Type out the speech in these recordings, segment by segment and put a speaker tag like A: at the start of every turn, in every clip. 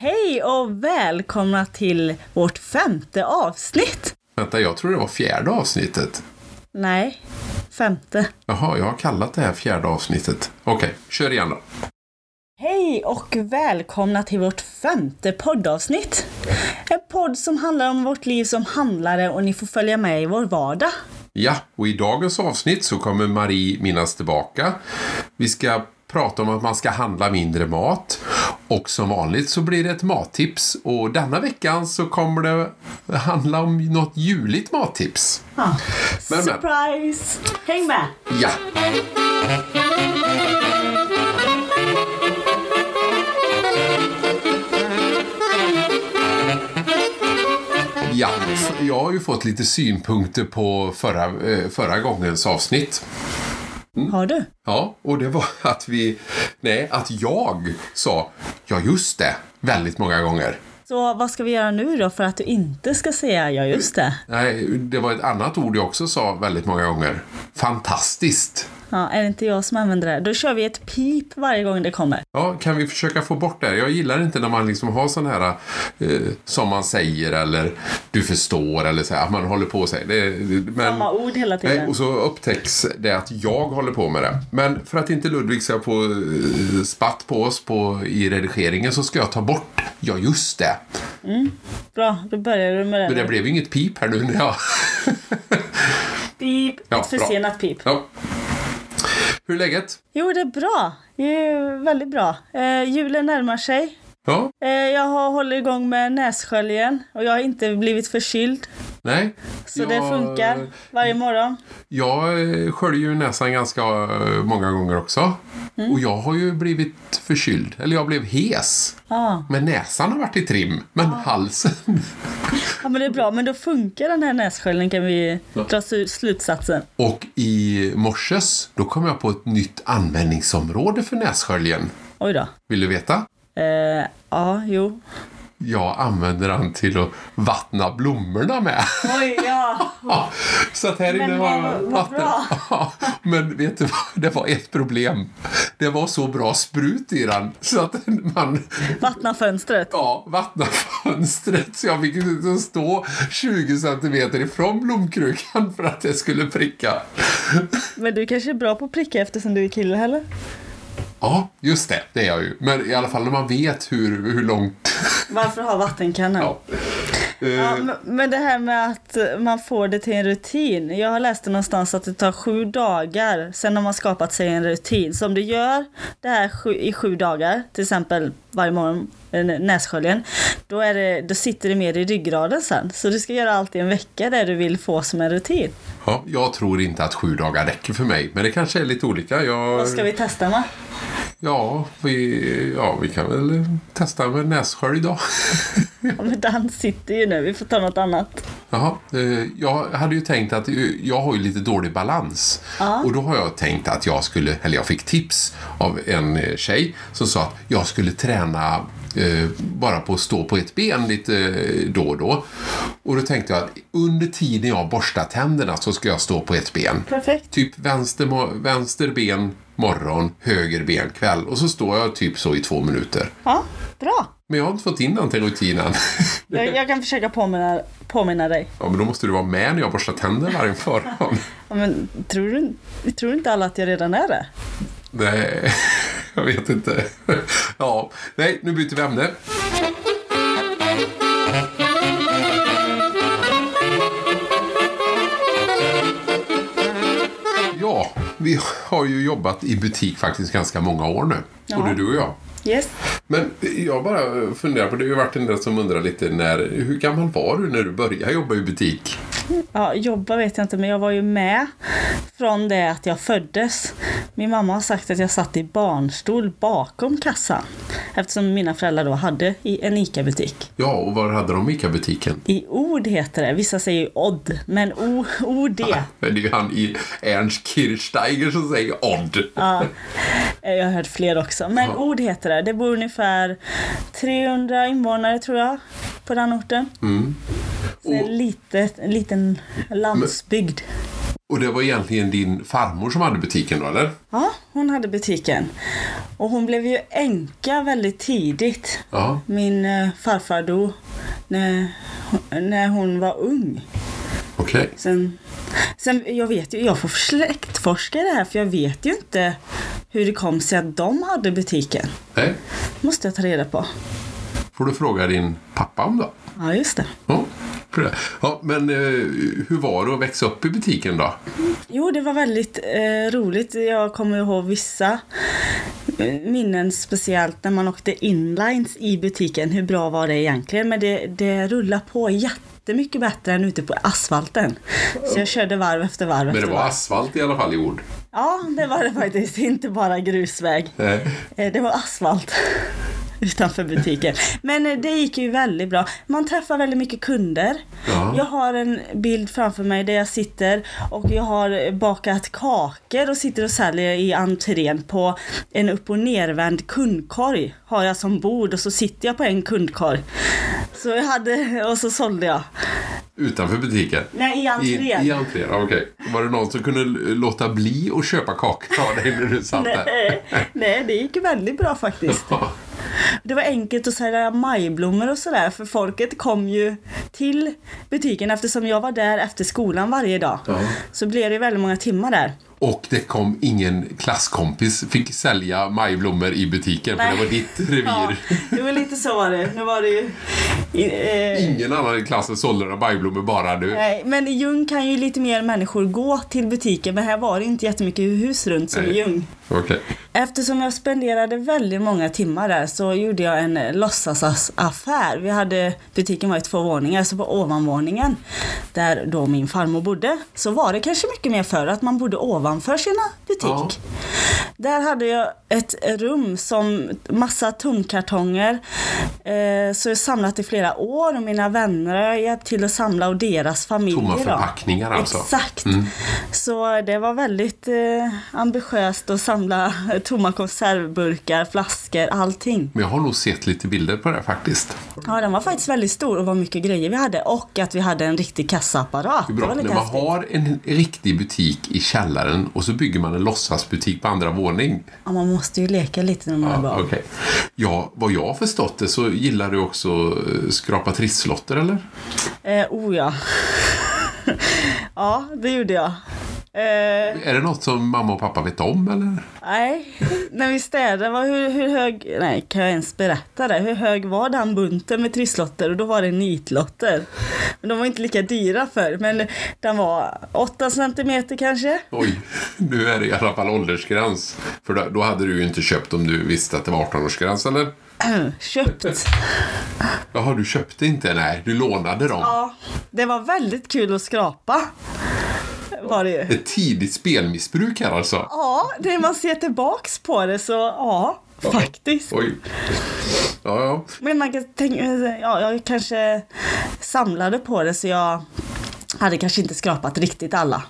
A: Hej och välkomna till vårt femte avsnitt.
B: Vänta, jag tror det var fjärde avsnittet.
A: Nej, femte.
B: Jaha, jag har kallat det här fjärde avsnittet. Okej, kör igen då.
A: Hej och välkomna till vårt femte poddavsnitt. En podd som handlar om vårt liv som handlare och ni får följa med i vår vardag.
B: Ja, och i dagens avsnitt så kommer Marie minnas tillbaka. Vi ska prata om att man ska handla mindre mat. Och som vanligt så blir det ett mattips. Och denna veckan så kommer det handla om något juligt mattips.
A: Ja.
B: Men, men.
A: Surprise! Häng med!
B: Ja. Ja, jag har ju fått lite synpunkter på förra, eh, förra gångens avsnitt.
A: Mm. Har du?
B: Ja, och det var att vi... Nej, att jag sa ja just det väldigt många gånger.
A: Så vad ska vi göra nu då för att du inte ska säga ja just det?
B: Nej, det var ett annat ord jag också sa väldigt många gånger. Fantastiskt.
A: Ja, är det inte jag som använder det? Då kör vi ett pip varje gång det kommer.
B: Ja, kan vi försöka få bort det här? Jag gillar inte när man liksom har sån här eh, som man säger eller du förstår eller så här, att man håller på och säger det. det- Men,
A: Samma ord hela tiden.
B: Nej, och så upptäcks det att jag håller på med det. Men för att inte Ludvig ska få eh, spatt på oss på, i redigeringen så ska jag ta bort ja just det.
A: Bra, då börjar du med den.
B: Men det blev ju inget pip här nu när jag...
A: Pip!
B: Ja,
A: ett
B: bra.
A: försenat pip.
B: ja. Hur är läget?
A: Jo, det är bra. Det är väldigt bra. Eh, julen närmar sig.
B: Ja,
A: Eh, jag har håller igång med nässköljen och jag har inte blivit förkyld.
B: nej.
A: Så
B: jag,
A: det funkar varje morgon.
B: Jag eh, sköljer ju näsan ganska eh, många gånger också.
A: Mm.
B: Och jag har ju blivit förkyld. Eller jag blev hes.
A: Ja.
B: Men näsan har varit i trim. Men halsen.
A: ja, men det är bra. Men då funkar den här nässköljen kan vi dra su- slutsatsen.
B: Och i morses, då kom jag på ett nytt användningsområde för nässköljen.
A: Oj då.
B: Vill du veta?
A: Eh, ja, jo.
B: Jag använder den till att vattna blommorna med.
A: Oj, ja.
B: Ja, så att här
A: Men
B: inne
A: vad-
B: var
A: vad
B: vatten.
A: bra.
B: Ja, men vet du vad? Det var ett problem. Det var så bra sprut i den så att man
A: Vattna fönstret.
B: ja, vattnade fönstret så jag fick liksom stå 20 centimeter ifrån blomkrukan för att det skulle pricka.
A: Men du kanske är bra på att pricka eftersom du är kille, eller?
B: Ja, just det. Det är jag ju. Men i alla fall när man vet hur, hur långt...
A: Varför ha vattenkannan?
B: Ja. Eh,
A: Ja, men- men det här med att man får det till en rutin. Jag har läst det någonstans att det tar sju dagar. Sen har man skapat sig en rutin. Så om du gör det här sju, i sju dagar, till exempel varje morgon, eh, nässköljen, då, är det, då sitter det mer i ryggraden sen. Så du ska göra allt i en vecka där du vill få som en rutin.
B: ja, jag tror inte att sju dagar räcker för mig, men det kanske är lite olika. Jag,
A: Vad ska vi testa med?
B: ja, vi, ja, vi kan väl testa med nässkölj idag.
A: Ja, men den sitter ju nu, vi får ta något annat.
B: Jaha, eh, jag hade ju tänkt att eh, jag har ju lite dålig balans. Och då har jag tänkt att jag skulle, eller jag fick tips av en eh, tjej som sa att jag skulle träna eh, bara på att stå på ett ben lite eh, då och då. Och då tänkte jag att under tiden jag borstar tänderna så ska jag stå på ett ben.
A: Perfekt.
B: Typ vänster, mo- vänster ben morgon, höger ben kväll. Och så står jag typ så i två minuter.
A: Ja, bra.
B: Men jag har inte fått in den till rutinen.
A: Jag, jag kan försöka påminna, påminna dig.
B: Ja, men då måste du vara med när jag borstar tänder varje morgon.
A: Ja, men tror, du, tror inte alla att jag redan är det?
B: Nej, jag vet inte. Ja, nej, nu byter vi ämne. Ja, vi har ju jobbat i butik faktiskt ganska många år nu. Både du och jag.
A: Yes.
B: Men jag bara funderar på, det har ju varit en del som undrar lite när, hur gammal var du när du började jobba i butik?
A: Ja, jobba vet jag inte, men jag var ju med från det att jag föddes. Min mamma har sagt att jag satt i barnstol bakom kassan. Eftersom mina föräldrar då hade i en ICA-butik.
B: Ja, och var hade de ICA-butiken?
A: I ord heter det, vissa säger ju odd, men o- OD.
B: Men det är ju han i Ernst Kirchsteiger som säger odd.
A: Eh, Jag har hört fler också, men ord heter det. Det bor ungefär 300 invånare tror jag på den orten. Så en, litet, en liten landsbygd.
B: Och det var egentligen din farmor som hade butiken då, eller?
A: Ja, hon hade butiken. Och hon blev ju änka väldigt tidigt.
B: Ja.
A: Min eh, farfar dog när, när hon var ung.
B: Okej.
A: Sen, sen jag vet ju, jag får släktforska i det här för jag vet ju inte hur det kom sig att de hade butiken.
B: Nej.
A: Måste jag ta reda på.
B: Får du fråga din pappa om då?
A: Ja, just det.
B: Ja, för det. ja men eh, hur var det att växa upp i butiken då?
A: Jo, det var väldigt eh, roligt. Jag kommer ihåg vissa eh, minnen, speciellt när man åkte inlines i butiken. Hur bra var det egentligen? Men det, det rullar på jättemycket bättre än ute på asfalten. Så jag körde varv efter varv
B: Men det
A: efter
B: var
A: varv.
B: asfalt i alla fall i ord.
A: Ja, det var det faktiskt. Inte bara grusväg.
B: Nej.
A: Eh, Det var asfalt utanför butiken. Men eh, det gick ju väldigt bra. Man träffar väldigt mycket kunder.
B: Ja.
A: Jag har en bild framför mig där jag sitter och jag har eh, bakat kakor och sitter och säljer i entrén på en upp och nervänd kundkorg. Har jag som bord och så sitter jag på en kundkorg. Så jag hade, och så sålde jag.
B: Utanför butiken?
A: Nej, i
B: I,
A: entrén.
B: i entrén, ja, okej. Var det någon som kunde l- låta bli att köpa kakor av dig när du satt där?
A: Nej, nej, det gick ju väldigt bra faktiskt.
B: Ja.
A: Det var enkelt att sälja majblommor och sådär för folket kom ju till butiken eftersom jag var där efter skolan varje dag.
B: Ja.
A: Så blev det väldigt många timmar där.
B: Och det kom ingen klasskompis fick sälja majblommor i butiken för
A: Nej.
B: det var ditt revir.
A: Ja, det var lite så var det. Nu var det ju... eh,
B: Ingen annan i klassen sålde några majblommor, bara du.
A: nej, men i Ljung kan ju lite mer människor gå till butiken men här var det inte jättemycket hus runt som i
B: Nej.
A: Ljung.
B: Okej.
A: Eftersom jag spenderade väldigt många timmar där så gjorde jag en eh, låtsasaffär. Vi hade, butiken var i två våningar, så på ovanvåningen där då min farmor bodde så var det kanske mycket mer för att man bodde ovanför sina butik. Där hade jag ett rum som massa tomkartonger eh, så jag samlat i flera år och mina vänner har hjälpt till att samla och deras familjer.
B: Tomma
A: då.
B: förpackningar alltså.
A: Exakt. Så det var väldigt eh, ambitiöst att samla tomma konservburkar, flaskor, allting.
B: Men jag har nog sett lite bilder på det faktiskt.
A: Ja, den var faktiskt väldigt stor och vad mycket grejer vi hade och att vi hade en riktig kassaapparat.
B: Det
A: Det var
B: är bra. När
A: lite
B: man
A: häftigt.
B: har en riktig butik i källaren och så bygger man en låtsasbutik på andra våning.
A: Ja, man måste ju leka lite när man är barn.
B: Okej. Ja, vad jag har förstått det så gillar du också eh, skrapa trisslotter eller?
A: Eh, oh ja. ja, det gjorde jag. Eh,
B: Är det något som mamma och pappa vet om eller?
A: nej, när vi städade, vad, hur, hur hög, nej kan jag ens berätta det? Hur hög var den bunten med trisslotter? Och då var det nitlotter. Men de var inte lika dyra förr, men den var 8 centimeter kanske.
B: Oj, nu är det i alla fall åldersgräns. För då, då hade du ju inte köpt om du visste att det var 18-årsgräns eller?
A: Mm. Köpt.
B: Jaha, du köpte inte? Nej, du lånade dem.
A: Ja, det var väldigt kul att skrapa. Var det ju.
B: Ett tidigt spelmissbruk här alltså.
A: Ja, det man ser tillbaks på det så ja, faktiskt.
B: Oj. Ja, ja.
A: Men man kan tänka, ja, jag kanske samlade på det så jag hade kanske inte skrapat riktigt alla.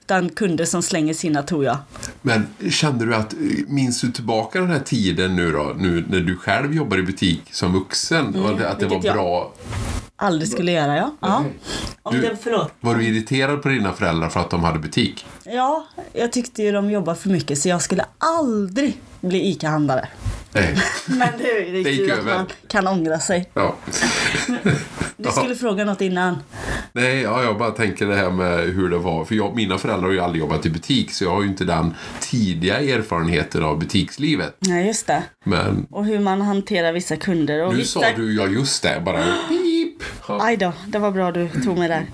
A: Utan kunder som slänger sina tog jag.
B: Men kände du att, minns du tillbaka den här tiden nu då, nu när du själv jobbar i butik som vuxen? och att det var
A: Mm, vilket jag-
B: bra?
A: Aldrig skulle göra ja. ja. Om
B: Du-
A: det, förlåt.
B: Var du irriterad på dina föräldrar för att de hade butik?
A: Ja, jag tyckte ju de jobbade för mycket så jag skulle aldrig bli ICA-handlare.
B: Nej.
A: Men det är ju
B: Det gick
A: kul att
B: över.
A: man kan ångra sig.
B: Ja.
A: Du skulle fråga något innan.
B: Nej, ja, jag bara tänker det här med hur det var. För jag, mina föräldrar har ju aldrig jobbat i butik så jag har ju inte den tidiga erfarenheten av butikslivet.
A: Nej, just det.
B: Men
A: Och hur man hanterar vissa kunder. Och
B: nu
A: vissa...
B: sa du ja just det, bara pip. Ja.
A: Aj då, det var bra du tog mig där.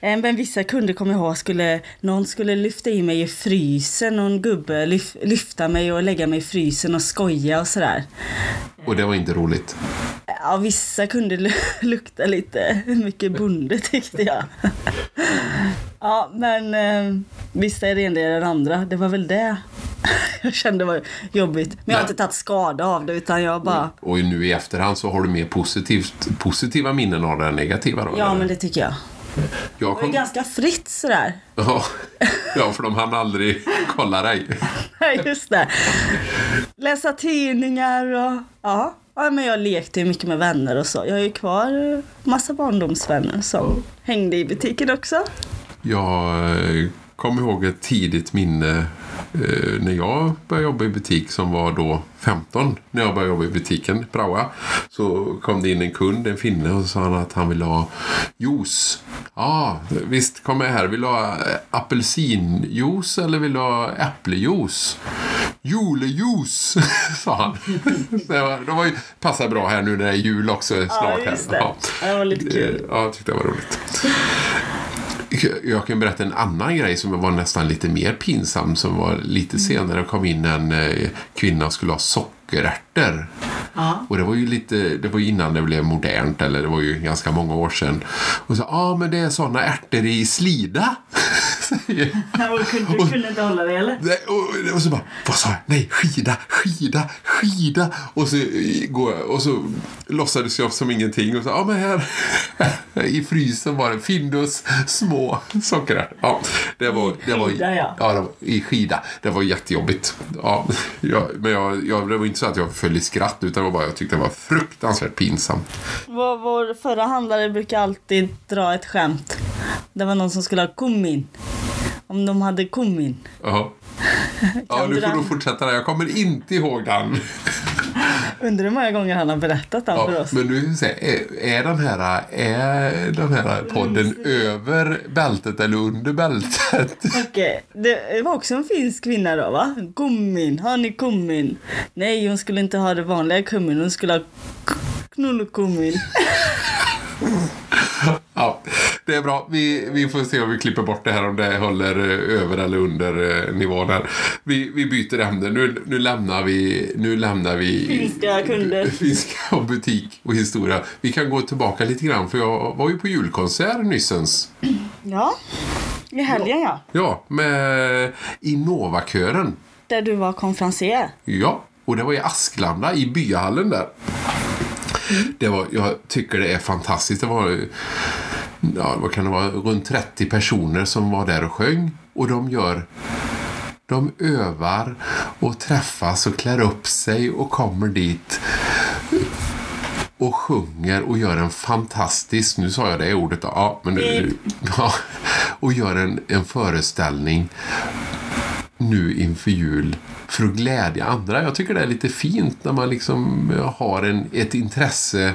A: Eh, Men vissa kunder kommer jag ihåg skulle, någon skulle lyfta in mig i frysen, någon gubbe lyf, lyfta mig och lägga mig i frysen och skoja och sådär.
B: Och det var inte roligt.
A: Ja, vissa kunder lu- lukta lite mycket bonde tyckte jag. Ja, men eh, vissa är renligare än andra. Det var väl det jag kände var jobbigt. Men jag har
B: Nej.
A: inte tagit skada av det utan jag bara,
B: Och nu i efterhand så har du mer positivt, positiva minnen av det än negativa då?
A: ja
B: eller?
A: men det tycker jag.
B: jag
A: Det var
B: kom...
A: ju ganska fritt sådär.
B: Ja, ja, för de hann aldrig kolla dig.
A: Nej, just det. Läsa tidningar och ja. ja men jag lekte ju mycket med vänner och så. Jag har ju kvar eh, massa barndomsvänner som hängde i butiken också.
B: Jag eh, kom ihåg ett tidigt minne eh, när jag började jobba i butik som var då 15. När jag började jobba i butiken, Praoa, så kom det in en kund, en finne, och så sa han att han ville ha juice. Ja, ah, visst, kom med här. Vill du ha eh, apelsinjuice eller vill du ha äpplejuice? Julejuice, sa han. Så det var, det var ju, passar bra här nu när det är jul också snart. här.
A: just det. Ja, det var lite kul.
B: Eh, Ja, jag tyckte det var roligt. Jag kan berätta en annan grej som var nästan lite mer pinsam som var
A: Mm.
B: lite senare. Det kom in en eh, kvinna och skulle ha sockerärtor.
A: Ja.
B: Och det var ju lite, det var ju innan det blev modernt eller det var ju ganska många år sedan. Och så, ja ah, men det är sådana ärtor i slida. Säger jag.
A: Du kunde, du kunde inte hålla det eller?
B: Nej, och, och så bara, vad sa jag? Nej, skida, skida, skida. Och så, eh, går jag, och så låtsades jag som ingenting och så, ja men här i frysen var det Findus små sockrar. Ja, det var, det var,
A: Skida, ja.
B: det var, I skida. Det var jättejobbigt. Ja, jag, men jag, jag, det var inte så att jag föll i skratt utan det var bara, jag tyckte det var fruktansvärt pinsamt.
A: Vår, vår förra handlare brukar alltid dra ett skämt. Det var någon som skulle ha kummin. Om de hade kummin.
B: Ja. Ja,
A: Kan
B: du
A: du
B: får
A: den?
B: nog fortsätta där. Jag kommer inte ihåg den.
A: Undrar hur många gånger han har berättat den för
B: Ja,
A: oss.
B: men du säger, är, är, den här, är den här podden
A: Mm.
B: över bältet eller under bältet?
A: Okej, Det var också en finsk kvinna då va? Kummin, har ni kummin? Nej, hon skulle inte ha det vanliga kummin, hon skulle ha k- knullkummin.
B: Ja, det är bra. Vi, vi får se om vi klipper bort det här om det håller eh, över eller under eh, nivån här. Vi, vi byter ämne. Nu, nu lämnar vi... Nu lämnar vi
A: Finska kunder.
B: Finska och butik och historia. Vi kan gå tillbaka lite grann för jag var ju på julkonsert nyssens.
A: Ja, i helgen ja.
B: Ja, med Innova-kören.
A: Där du var konferencier.
B: Ja, och det var i Asklanda i byahallen där. Det var, jag tycker det är fantastiskt. Det var, ja, vad kan det vara, runt 30 personer som var där och sjöng. Och de gör de övar och träffas och klär upp sig och kommer dit och sjunger och gör en fantastisk, nu sa jag det ordet, ja, men nu, ja, och gör en, en föreställning nu inför jul för att glädja andra. Jag tycker det är lite fint när man liksom har en, ett intresse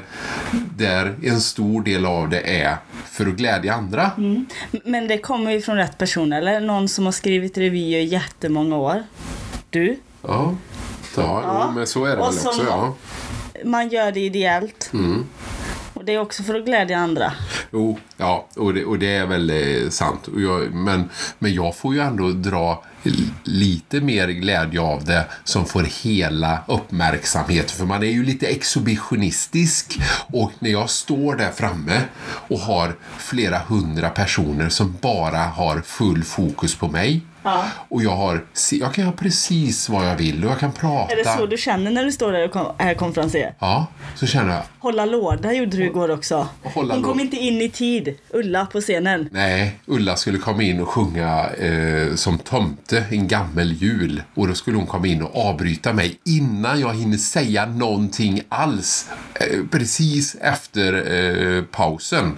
B: där en stor del av det är för att glädja andra.
A: Mm. M- Men det kommer ju från rätt person eller? Någon som har skrivit revyer i jättemånga år. Du?
B: Ja. Ja, jo, men så är det
A: Och
B: väl
A: som-
B: också. Ja.
A: Man gör det ideellt. Och det är också för att glädja andra.
B: Jo, ja, och det, och det är väl eh, sant. Och jag, men, men jag får ju ändå dra l- lite mer glädje av det som får hela uppmärksamheten. För man är ju lite exhibitionistisk och när jag står där framme och har flera hundra personer som bara har full fokus på mig
A: Ja.
B: och jag, har, se- jag kan göra precis vad jag vill och jag kan prata.
A: Är det så du känner när du står där och kom- är konferencier?
B: Ja, så känner jag
A: Hålla låda gjorde du igår också.
B: Hålla
A: Hon kom
B: låda.
A: inte in i tid, Ulla på scenen.
B: Nej, Ulla skulle komma in och sjunga eh, som tomte en gammel jul. Och då skulle hon komma in och avbryta mig innan jag hinner säga någonting alls. Eh, precis efter eh, pausen.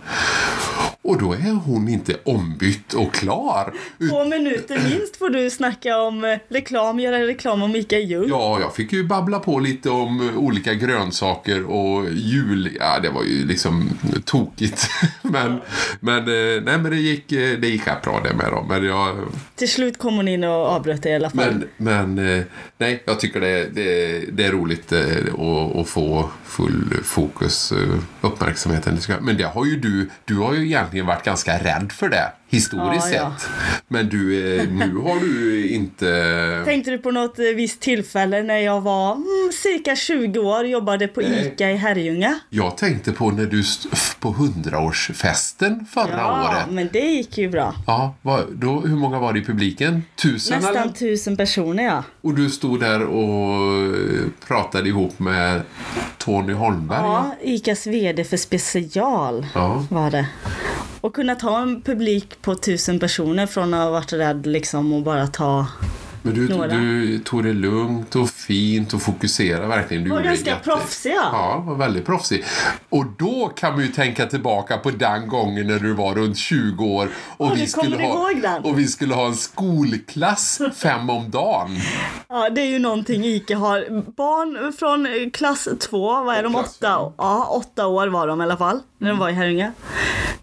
B: Och då är hon inte ombytt och klar. Ut-
A: Två minuter minst får du snacka om eh, reklam, göra reklam om Ica Ljung.
B: Ja, jag fick ju babbla på lite om eh, olika grönsaker och jul. Ja, det var ju liksom tokigt. men, men, eh, nej, men det gick, eh, det gick rätt bra det med dem. Men jag,
A: Till slut kom hon in och avbröt dig i alla fall.
B: Men, men eh, nej, jag tycker det, är- det, är- det är roligt eh, att, att få full fokus, eh, uppmärksamheten. Det ska- Men det har ju du, du har ju egentligen varit ganska rädd för det historiskt
A: Ja, ja.
B: sett. Men du, eh, nu har du inte...
A: Tänkte du på något eh, visst tillfälle när jag var mm, cirka 20 år, jobbade på
B: Nej.
A: Ica i Herrljunga?
B: Jag tänkte på när du st- på hundraårsfesten förra
A: Ja,
B: året.
A: men det gick ju bra.
B: Ja, vad, då, hur många var det i publiken? Tusen eller?
A: Nästan tusen personer ja.
B: Och du stod där och eh, pratade ihop med Tony Holmberg.
A: Ja, Icas VD för special
B: Ja.
A: var det. Och kunna ta en publik på tusen personer från att ha varit rädd liksom och bara ta
B: Men du,
A: Några.
B: du tog det lugnt och fint och fokuserade verkligen. Du
A: Var
B: gjorde det
A: ganska
B: jätte-
A: proffsig, ja.
B: Ja, var väldigt proffsig. Och då kan man ju tänka tillbaka på den gången när du var runt 20 år och,
A: Åh, du kommer
B: ha,
A: ihåg den?
B: och vi skulle ha en skolklass fem om dagen.
A: Ja, det är ju någonting ICA har. Barn från klass två, vad är de?
B: Klass Mm.
A: Åtta?
B: fem.
A: Ja, åtta år var de i alla fall, när de var i Herrljunga.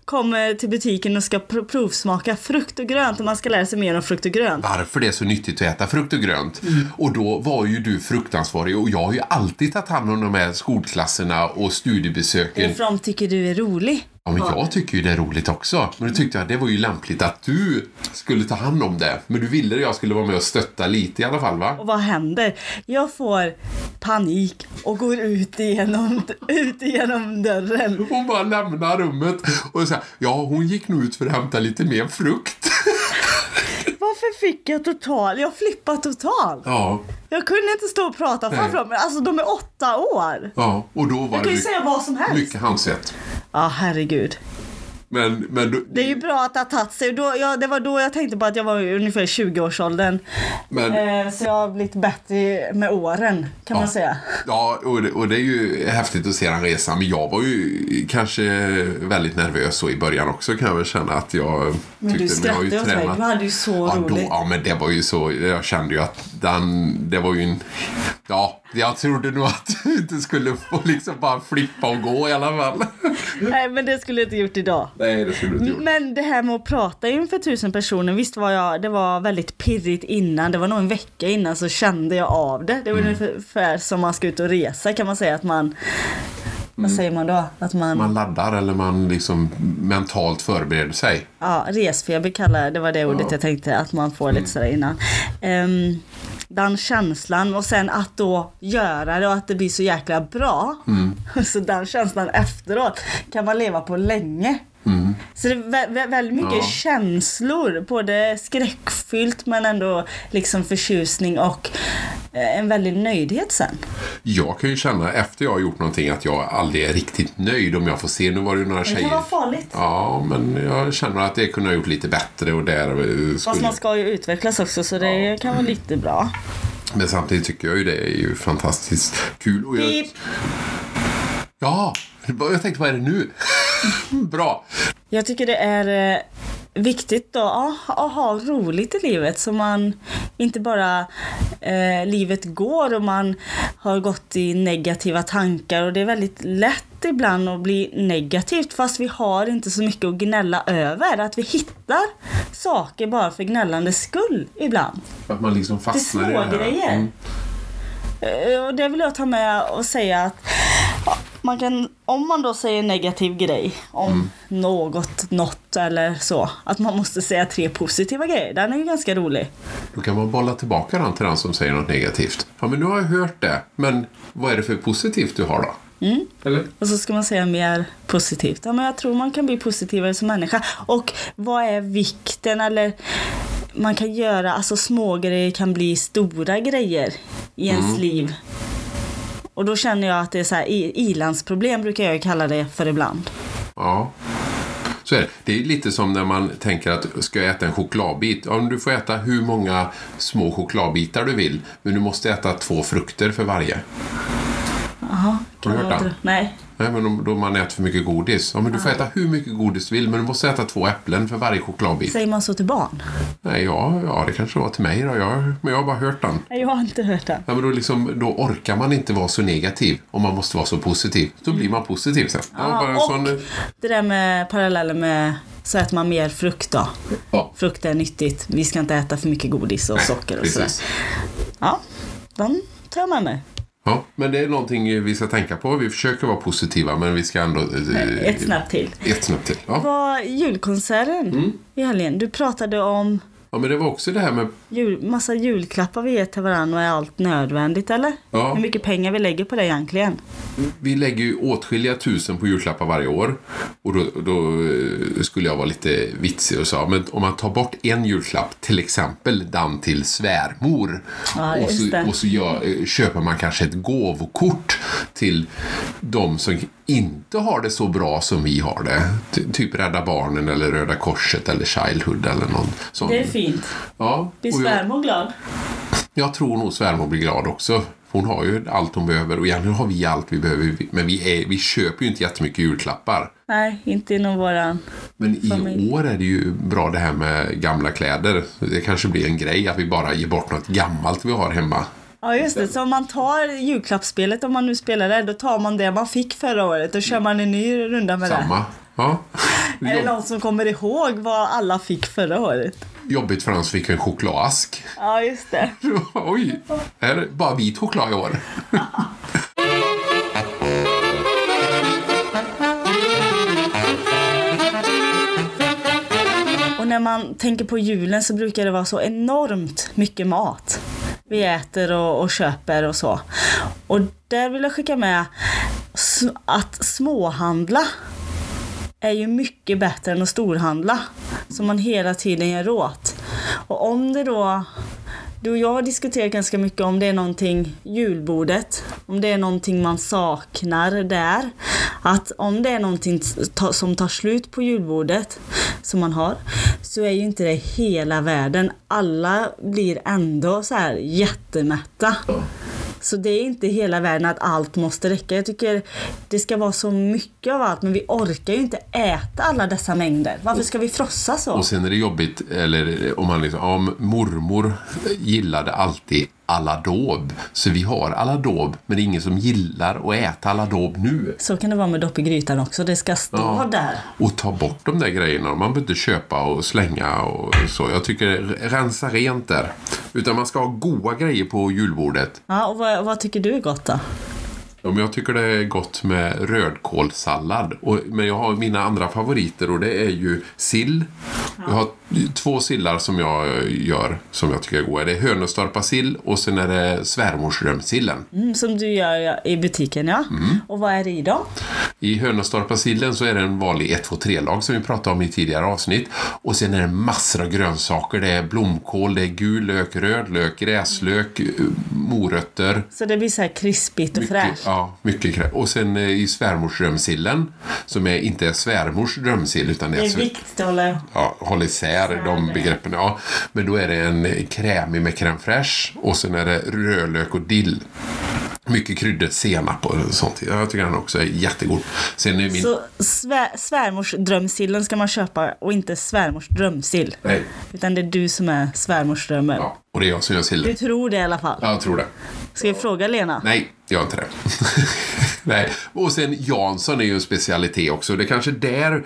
A: Kommer till butiken och ska pr- provsmaka frukt och grönt och man ska lära sig mer om frukt och grönt.
B: varför det är så nyttigt att äta frukt och grönt.
A: Mm.
B: Och då var ju du fruktansvarig och jag har ju alltid tagit hand om de här skolklasserna och studiebesöken.
A: För de tycker du är rolig.
B: Ja, men jag tycker ju det är roligt också. Men då tyckte jag att det var ju lämpligt att du skulle ta hand om det. Men du ville att jag skulle vara med och stötta lite i alla fall va?
A: Och vad händer? Jag får panik och går ut genom, ut genom dörren.
B: Hon bara lämnar rummet och så här, ja hon gick nog ut för att hämta lite mer frukt.
A: Varför fick jag total? Jag flippade total.
B: Ja,
A: Jag kunde inte stå och prata framför dem. Alltså de är åtta år.
B: ja. och då var
A: Jag kan
B: det
A: ju säga vad som
B: mycket-
A: helst.
B: mycket handsvett.
A: Ja, herregud.
B: Men, men, då-
A: Det är ju bra att det har tagit sig. Då, ja, det var då jag tänkte på att jag var i ungefär 20-årsåldern.
B: men
A: Eh, så jag har blivit bättre med åren kan man säga.
B: Ja, och det, och det är ju häftigt att se den resan. Men jag var ju kanske väldigt nervös så i början också kan jag väl känna att jag
A: Men du
B: jag har ju
A: skrattade åt mig.
B: tränat-
A: Du hade ju så
B: Ja, då,
A: roligt.
B: ja, men det var ju så. Jag kände ju att den, det var ju en... Ja, jag trodde nog att du inte skulle få liksom bara flippa och gå i alla fall.
A: Nej, men det skulle jag inte gjort idag.
B: Nej, det skulle du inte gjort.
A: Men det här med att prata inför tusen personer, visst var jag, det var väldigt pirrigt innan, det var nog en vecka innan så kände jag av det. Det var
B: Mm.
A: ungefär som man ska ut och resa kan man säga att man,
B: Mm.
A: vad säger man då? Att man,
B: Man laddar eller man liksom mentalt förbereder sig.
A: ja resfeber kallar jag- det var det ordet jag tänkte att man får
B: Mm.
A: lite sådär innan. Ehm, den känslan och sen att då göra det och att det blir så jäkla bra.
B: Mm.
A: Så den känslan efteråt kan man leva på länge. Så det är vä- vä- väldigt mycket
B: Mm. Ja.
A: känslor, både skräckfyllt men ändå liksom förtjusning och eh, en väldig nöjdhet sen.
B: Jag kan ju känna efter jag har gjort någonting att jag aldrig är riktigt nöjd om jag får se. Nu var det ju några
A: Det
B: tjejer.
A: kan vara farligt.
B: Ja, men jag känner att det kunde ha gjort lite bättre och där eh,
A: Fast
B: skulle...
A: man ska ju utvecklas också så det kan vara lite bra.
B: Men samtidigt tycker jag ju det är ju fantastiskt kul. Och jag...
A: Pip.
B: Ja, vad- jag tänkte vad är det nu? Bra.
A: Jag tycker det är eh, viktigt då, ja, att ha roligt i livet så man inte bara eh, livet går och man har gått i negativa tankar och det är väldigt lätt ibland att bli negativt fast vi har inte så mycket att gnälla över. Att vi hittar saker bara för gnällandes skull ibland.
B: Att man liksom
A: Det är
B: fastnar i det
A: små
B: här.
A: grejer.
B: Mm.
A: Eh, Och det vill jag ta med och säga att ja, man kan, om man då säger en negativ grej om
B: Mm.
A: något, något eller så. Att man måste säga tre positiva grejer. Den är ju ganska rolig.
B: Då kan man bolla tillbaka den till den som säger något negativt. Ja, men nu har jag hört det. Men vad är det för positivt du har då? Eller?
A: Och så ska man säga mer positivt. Ja, men jag tror man kan bli positivare som människa. Och vad är vikten eller man kan göra, alltså små grejer kan bli stora grejer i ens
B: Mm.
A: liv. Och då känner jag att det är så här, i- i-landsproblem brukar jag ju kalla det för ibland.
B: Ja. Så är det. det är lite som när man tänker att ska jag äta en chokladbit? Ja, men du får äta hur många små chokladbitar du vill. Men du måste äta två frukter för varje.
A: Jaha.
B: Har du hört den?
A: Nej.
B: Nej, men om, då man äter för mycket godis. Ja, men du får äta hur mycket godis du vill, men du måste äta två äpplen för varje chokladbit.
A: Säger man så till barn?
B: Nej, ja, ja det kanske var till mig då. Jag, men jag har bara hört den.
A: Nej, jag har inte hört det.
B: Ja, men då, liksom, då orkar man inte vara så negativ om man måste vara så positiv. Då blir man positiv sen. Ja, bara en
A: och
B: sån, eh,
A: det där med parallellen med så äter man mer frukt då.
B: ja,
A: Frukt är nyttigt. Vi ska inte äta för mycket godis och socker och sådär.
B: precis.
A: Ja, den tar jag med mig.
B: Ja, men det är någonting vi ska tänka på. Vi försöker vara positiva, men vi ska ändå... eh,
A: Ett snabbt till.
B: Ett snabbt till.
A: Det
B: Ja.
A: var julkonserten
B: Mm.
A: i helgen. Du pratade om
B: ja, men det var också det här med...
A: jul, massa julklappar vi ger till varandra och är allt nödvändigt eller?
B: Ja.
A: Hur mycket pengar vi lägger på det egentligen.
B: Vi lägger ju åtskilliga tusen på julklappar varje år. Och då, då eh, skulle jag vara lite vitsig och sa, men om man tar bort en julklapp, till exempel den till svärmor.
A: Ja,
B: och
A: just det.
B: så, och så gör, eh, köper man kanske ett gåvokort till de som inte har det så bra som vi har det. Ty- Typ Rädda Barnen eller Röda Korset eller Childhood eller någon sån.
A: fint.
B: Ja,
A: Blir
B: och jag,
A: svärmor glad?
B: jag tror nog svärmor blir glad också. Hon har ju allt hon behöver och egentligen har vi allt vi behöver. Men vi, är, vi köper ju inte jättemycket julklappar.
A: Nej, inte inom våran.
B: Men i
A: Familj.
B: år är det ju bra det här med gamla kläder. Det kanske blir en grej att vi bara ger bort något gammalt vi har hemma.
A: Ja just det, så om man tar julklappsspelet om man nu spelar det, då tar man det man fick förra året och kör man en ny runda med
B: Samma. Ja.
A: det. Är det någon som kommer ihåg vad alla fick förra året?
B: Jobbigt för han som fick en chokladask.
A: Ja just det.
B: Oj, är det bara vit choklad i år?
A: Och när man tänker på julen så brukar det vara så enormt mycket mat. Vi äter och, och köper och så. Och där vill jag skicka med s- att småhandla är ju mycket bättre än att storhandla. Som man hela tiden gör åt. Och om det då du och jag har diskuterat ganska mycket om det är någonting, julbordet, om det är någonting man saknar där. Att om det är någonting s- ta- som tar slut på julbordet som man har, så är ju inte det hela världen. Alla blir ändå så här jättemätta. Så det är inte hela världen att allt måste räcka. Jag tycker det ska vara så mycket av allt, men vi orkar ju inte äta alla dessa mängder. Varför ska vi frossa så?
B: Och sen är det jobbigt, eller om man liksom, om mormor gillade alltid aladåb. Så vi har aladåb, men det är ingen som gillar att äta aladåb nu.
A: Så kan det vara med dopp i grytan också. Det ska stå
B: Ja.
A: där.
B: Och ta bort de där grejerna. Man behöver inte köpa och slänga och så. Jag tycker rensa rent där. Utan man ska ha goda grejer på julbordet.
A: Ja, och vad, vad tycker du är gott då?
B: Ja, men jag tycker det är gott med rödkålssallad. Och, men jag har mina andra favoriter och det är ju sill. Jag har två sillar som jag gör som jag tycker är goda. Det är hönöstorpa sill och sen är det svärmorsrömsillen.
A: Mm, som du gör ja, i butiken ja.
B: Mm.
A: Och vad är det i då?
B: I hönöstorpa sillen så är det en vanlig 1-2-3-lag som vi pratade om i tidigare avsnitt. Och sen är det massor av grönsaker. Det är blomkål, det är gul lök, röd lök, gräslök, eh, morötter.
A: Så det blir så här krispigt och fräscht.
B: Ja, mycket krä- Och sen eh, i svärmorsrömsillen, som är inte är svärmors römsill utan det
A: Det
B: är
A: är
B: svär-
A: viktigt att hålla
B: ja, håll isär de begreppen. Ja. Men då är det en eh, krämig med crème fraîche och sen är det rödlök och dill. Mycket kryddor, senap och sånt. Ja, Jag tycker den också är jättegod. Sen är min...
A: Så svär, svärmorsdrömsillen ska man köpa och inte svärmors drömsill.
B: Nej.
A: Utan det är du som är svärmorsdrömmen.
B: Ja, och det är jag som gör sillen.
A: Du tror det i alla fall.
B: Ja, Jag tror det.
A: Ska vi fråga Lena?
B: Nej, jag gör inte det. Nej. Och sen Jansson är ju en specialitet också. Det är kanske där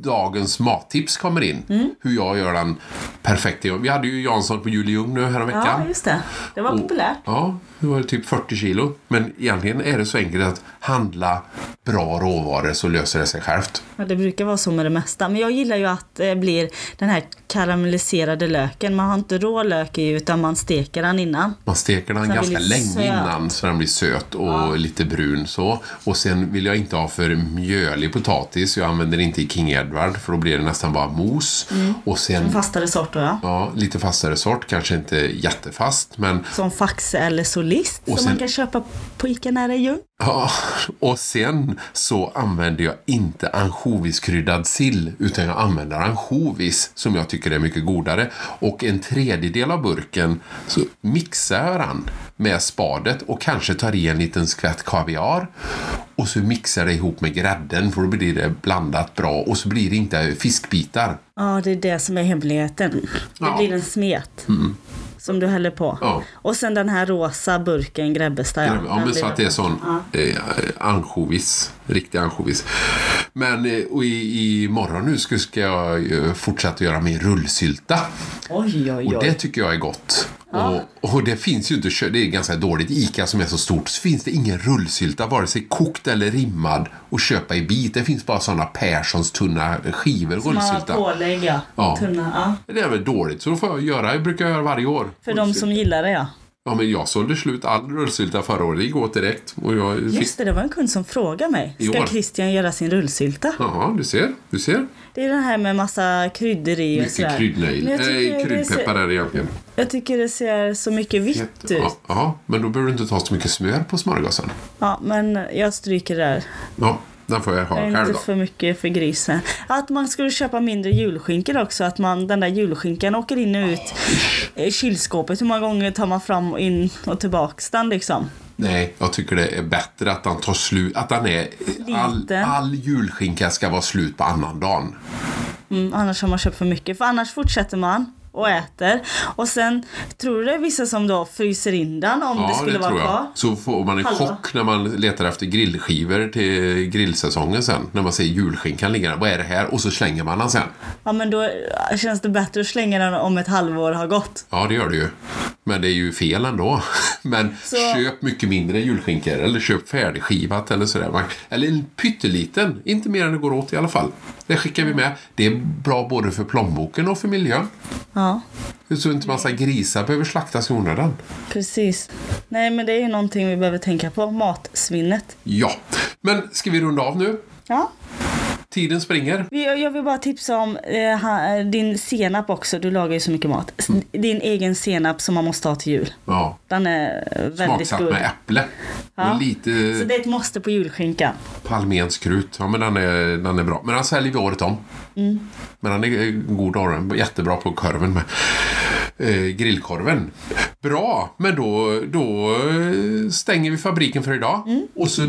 B: dagens mattips kommer in.
A: Mm.
B: Hur jag gör den perfekt. Vi hade ju Jansson på jul i Ljung nu häromveckan.
A: Ja, just det. Det var populärt.
B: Ja, det var typ 40 kilo. Men egentligen är det så enkelt att handla bra råvaror så löser det sig självt.
A: Ja, det brukar vara så med det mesta. Men jag gillar ju att det blir den här karamelliserade löken. Man har inte rå lök i utan man steker den innan.
B: Man steker den
A: den
B: ganska
A: blir
B: länge
A: söt.
B: innan så den blir söt och lite brun så. Och sen vill jag inte ha för mjölig potatis. Jag använder inte i King Edward för då blir det nästan bara mos.
A: Mm.
B: Och sen
A: Fastare sort då ja.
B: ja, lite fastare sort, kanske inte jättefast men
A: Som Faxe eller Solist som
B: sen-
A: man kan köpa på Ica nära jul.
B: ja. Och sen så använder jag inte ansjoviskryddad sill utan jag använder ansjovis som jag tycker är mycket godare. Och en tredjedel av burken så mixar jag den med spadet och kanske tar i en liten skvätt kaviar och så mixar det ihop med grädden för då blir det blandat bra och så blir det inte fiskbitar.
A: Ja, det är det som är hemligheten. Det
B: Ja. Mm.
A: blir en smet. Som du häller på.
B: Ja.
A: Och sen den här rosa burken Grebbestad.
B: Ja,
A: Den
B: men
A: blir-
B: så att det är sån eh, ansjovis. Riktig ansjovis. Men eh, och i, i morgon nu ska, ska jag eh, fortsätta göra min rullsylta.
A: Oj, oj,
B: Och det
A: oj.
B: tycker jag är gott. Och, och det finns ju inte, kö- det är ganska dåligt. ICA som är så stort, så finns det ingen rullsylta, vare sig kokt eller rimmad, att köpa i bit. Det finns bara sådana Perssons tunna skivor
A: Man
B: rullsylta.
A: pålägg ja.
B: Ja.
A: Tunna, ja.
B: Det är väl dåligt, så då får jag göra, det brukar jag göra varje år.
A: För de som gillar det ja.
B: Ja, men jag sålde slut all rullsylta förra året, det gick åt direkt. Och jag fick...
A: Just det, det var en kund som frågade mig.
B: I
A: Ska
B: år.
A: Christian göra sin rullsylta?
B: Jaha, du ser. Du ser.
A: Det är det här med massa kryddor i och
B: Mycket
A: sådär.
B: kryddor i.
A: Men jag tycker,
B: Nej,
A: det
B: kryddpeppar
A: ser,
B: är det egentligen.
A: jag tycker det ser så mycket vitt
B: Ja,
A: ut.
B: ja, men då behöver du inte ta så mycket smör på smörgåsen.
A: Ja, men jag stryker där.
B: Ja, den får jag ha
A: Det är
B: själv
A: inte
B: då.
A: för mycket för grisen. Att man skulle köpa mindre julskinkor också. Att man, den där julskinkan åker in och ut i kylskåpet. Hur många gånger tar man fram och in och tillbaks den liksom?
B: Nej, jag tycker det är bättre att den tar slut. Att den är... All,
A: Liten.
B: all julskinka ska vara slut på annandagen.
A: Mm, annars har man köpt för mycket. För annars fortsätter man och äter. Och sen tror du det är vissa som då fryser in den om det skulle vara kvar?
B: Så får man en
A: Hallå?
B: chock när man letar efter grillskivor till grillsäsongen sen. När man ser julskinkan ligga där. Vad är det här? Och så slänger man den sen.
A: Ja men då äh, känns det bättre att slänga den om ett halvår har gått.
B: Ja, det gör det ju. Men det är ju fel ändå. Men
A: Så-
B: köp mycket mindre julskinkor eller köp färdigskivat eller sådär. Man- Eller en pytteliten, inte mer än det går åt i alla fall. Det skickar vi med. Det är bra både för plånboken och för miljön.
A: Ja,
B: Så inte massa grisar behöver slaktas i onödan.
A: precis. Nej men det är ju någonting vi behöver tänka på. Matsvinnet.
B: Ja, men ska vi runda av nu?
A: Ja.
B: Tiden springer.
A: Vi- Jag vill bara tipsa om eh, ha- din senap också. Du lagar ju så mycket mat.
B: Mm.
A: S- Din egen senap som man måste ha till jul.
B: Ja,
A: Den är eh, väldigt
B: smaksatt
A: god.
B: med äpple.
A: Ja.
B: Och lite
A: Så det är ett måste på julskinkan.
B: palmenskrut. Ja, men den är, den är bra. Men den säljer vi året om. Men den är eh, god av den. Jättebra på korven med. Eh, grillkorven. Bra, men då, då eh, stänger vi fabriken för idag. Och så,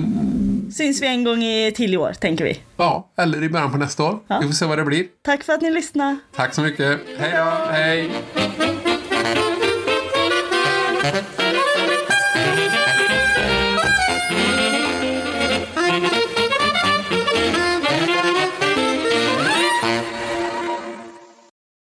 A: Syns vi en gång i, till i år, tänker vi.
B: ja, eller i början på nästa år. Vi får se vad det blir.
A: Tack för att ni lyssnade.
B: Tack så mycket. Hej då. Hej.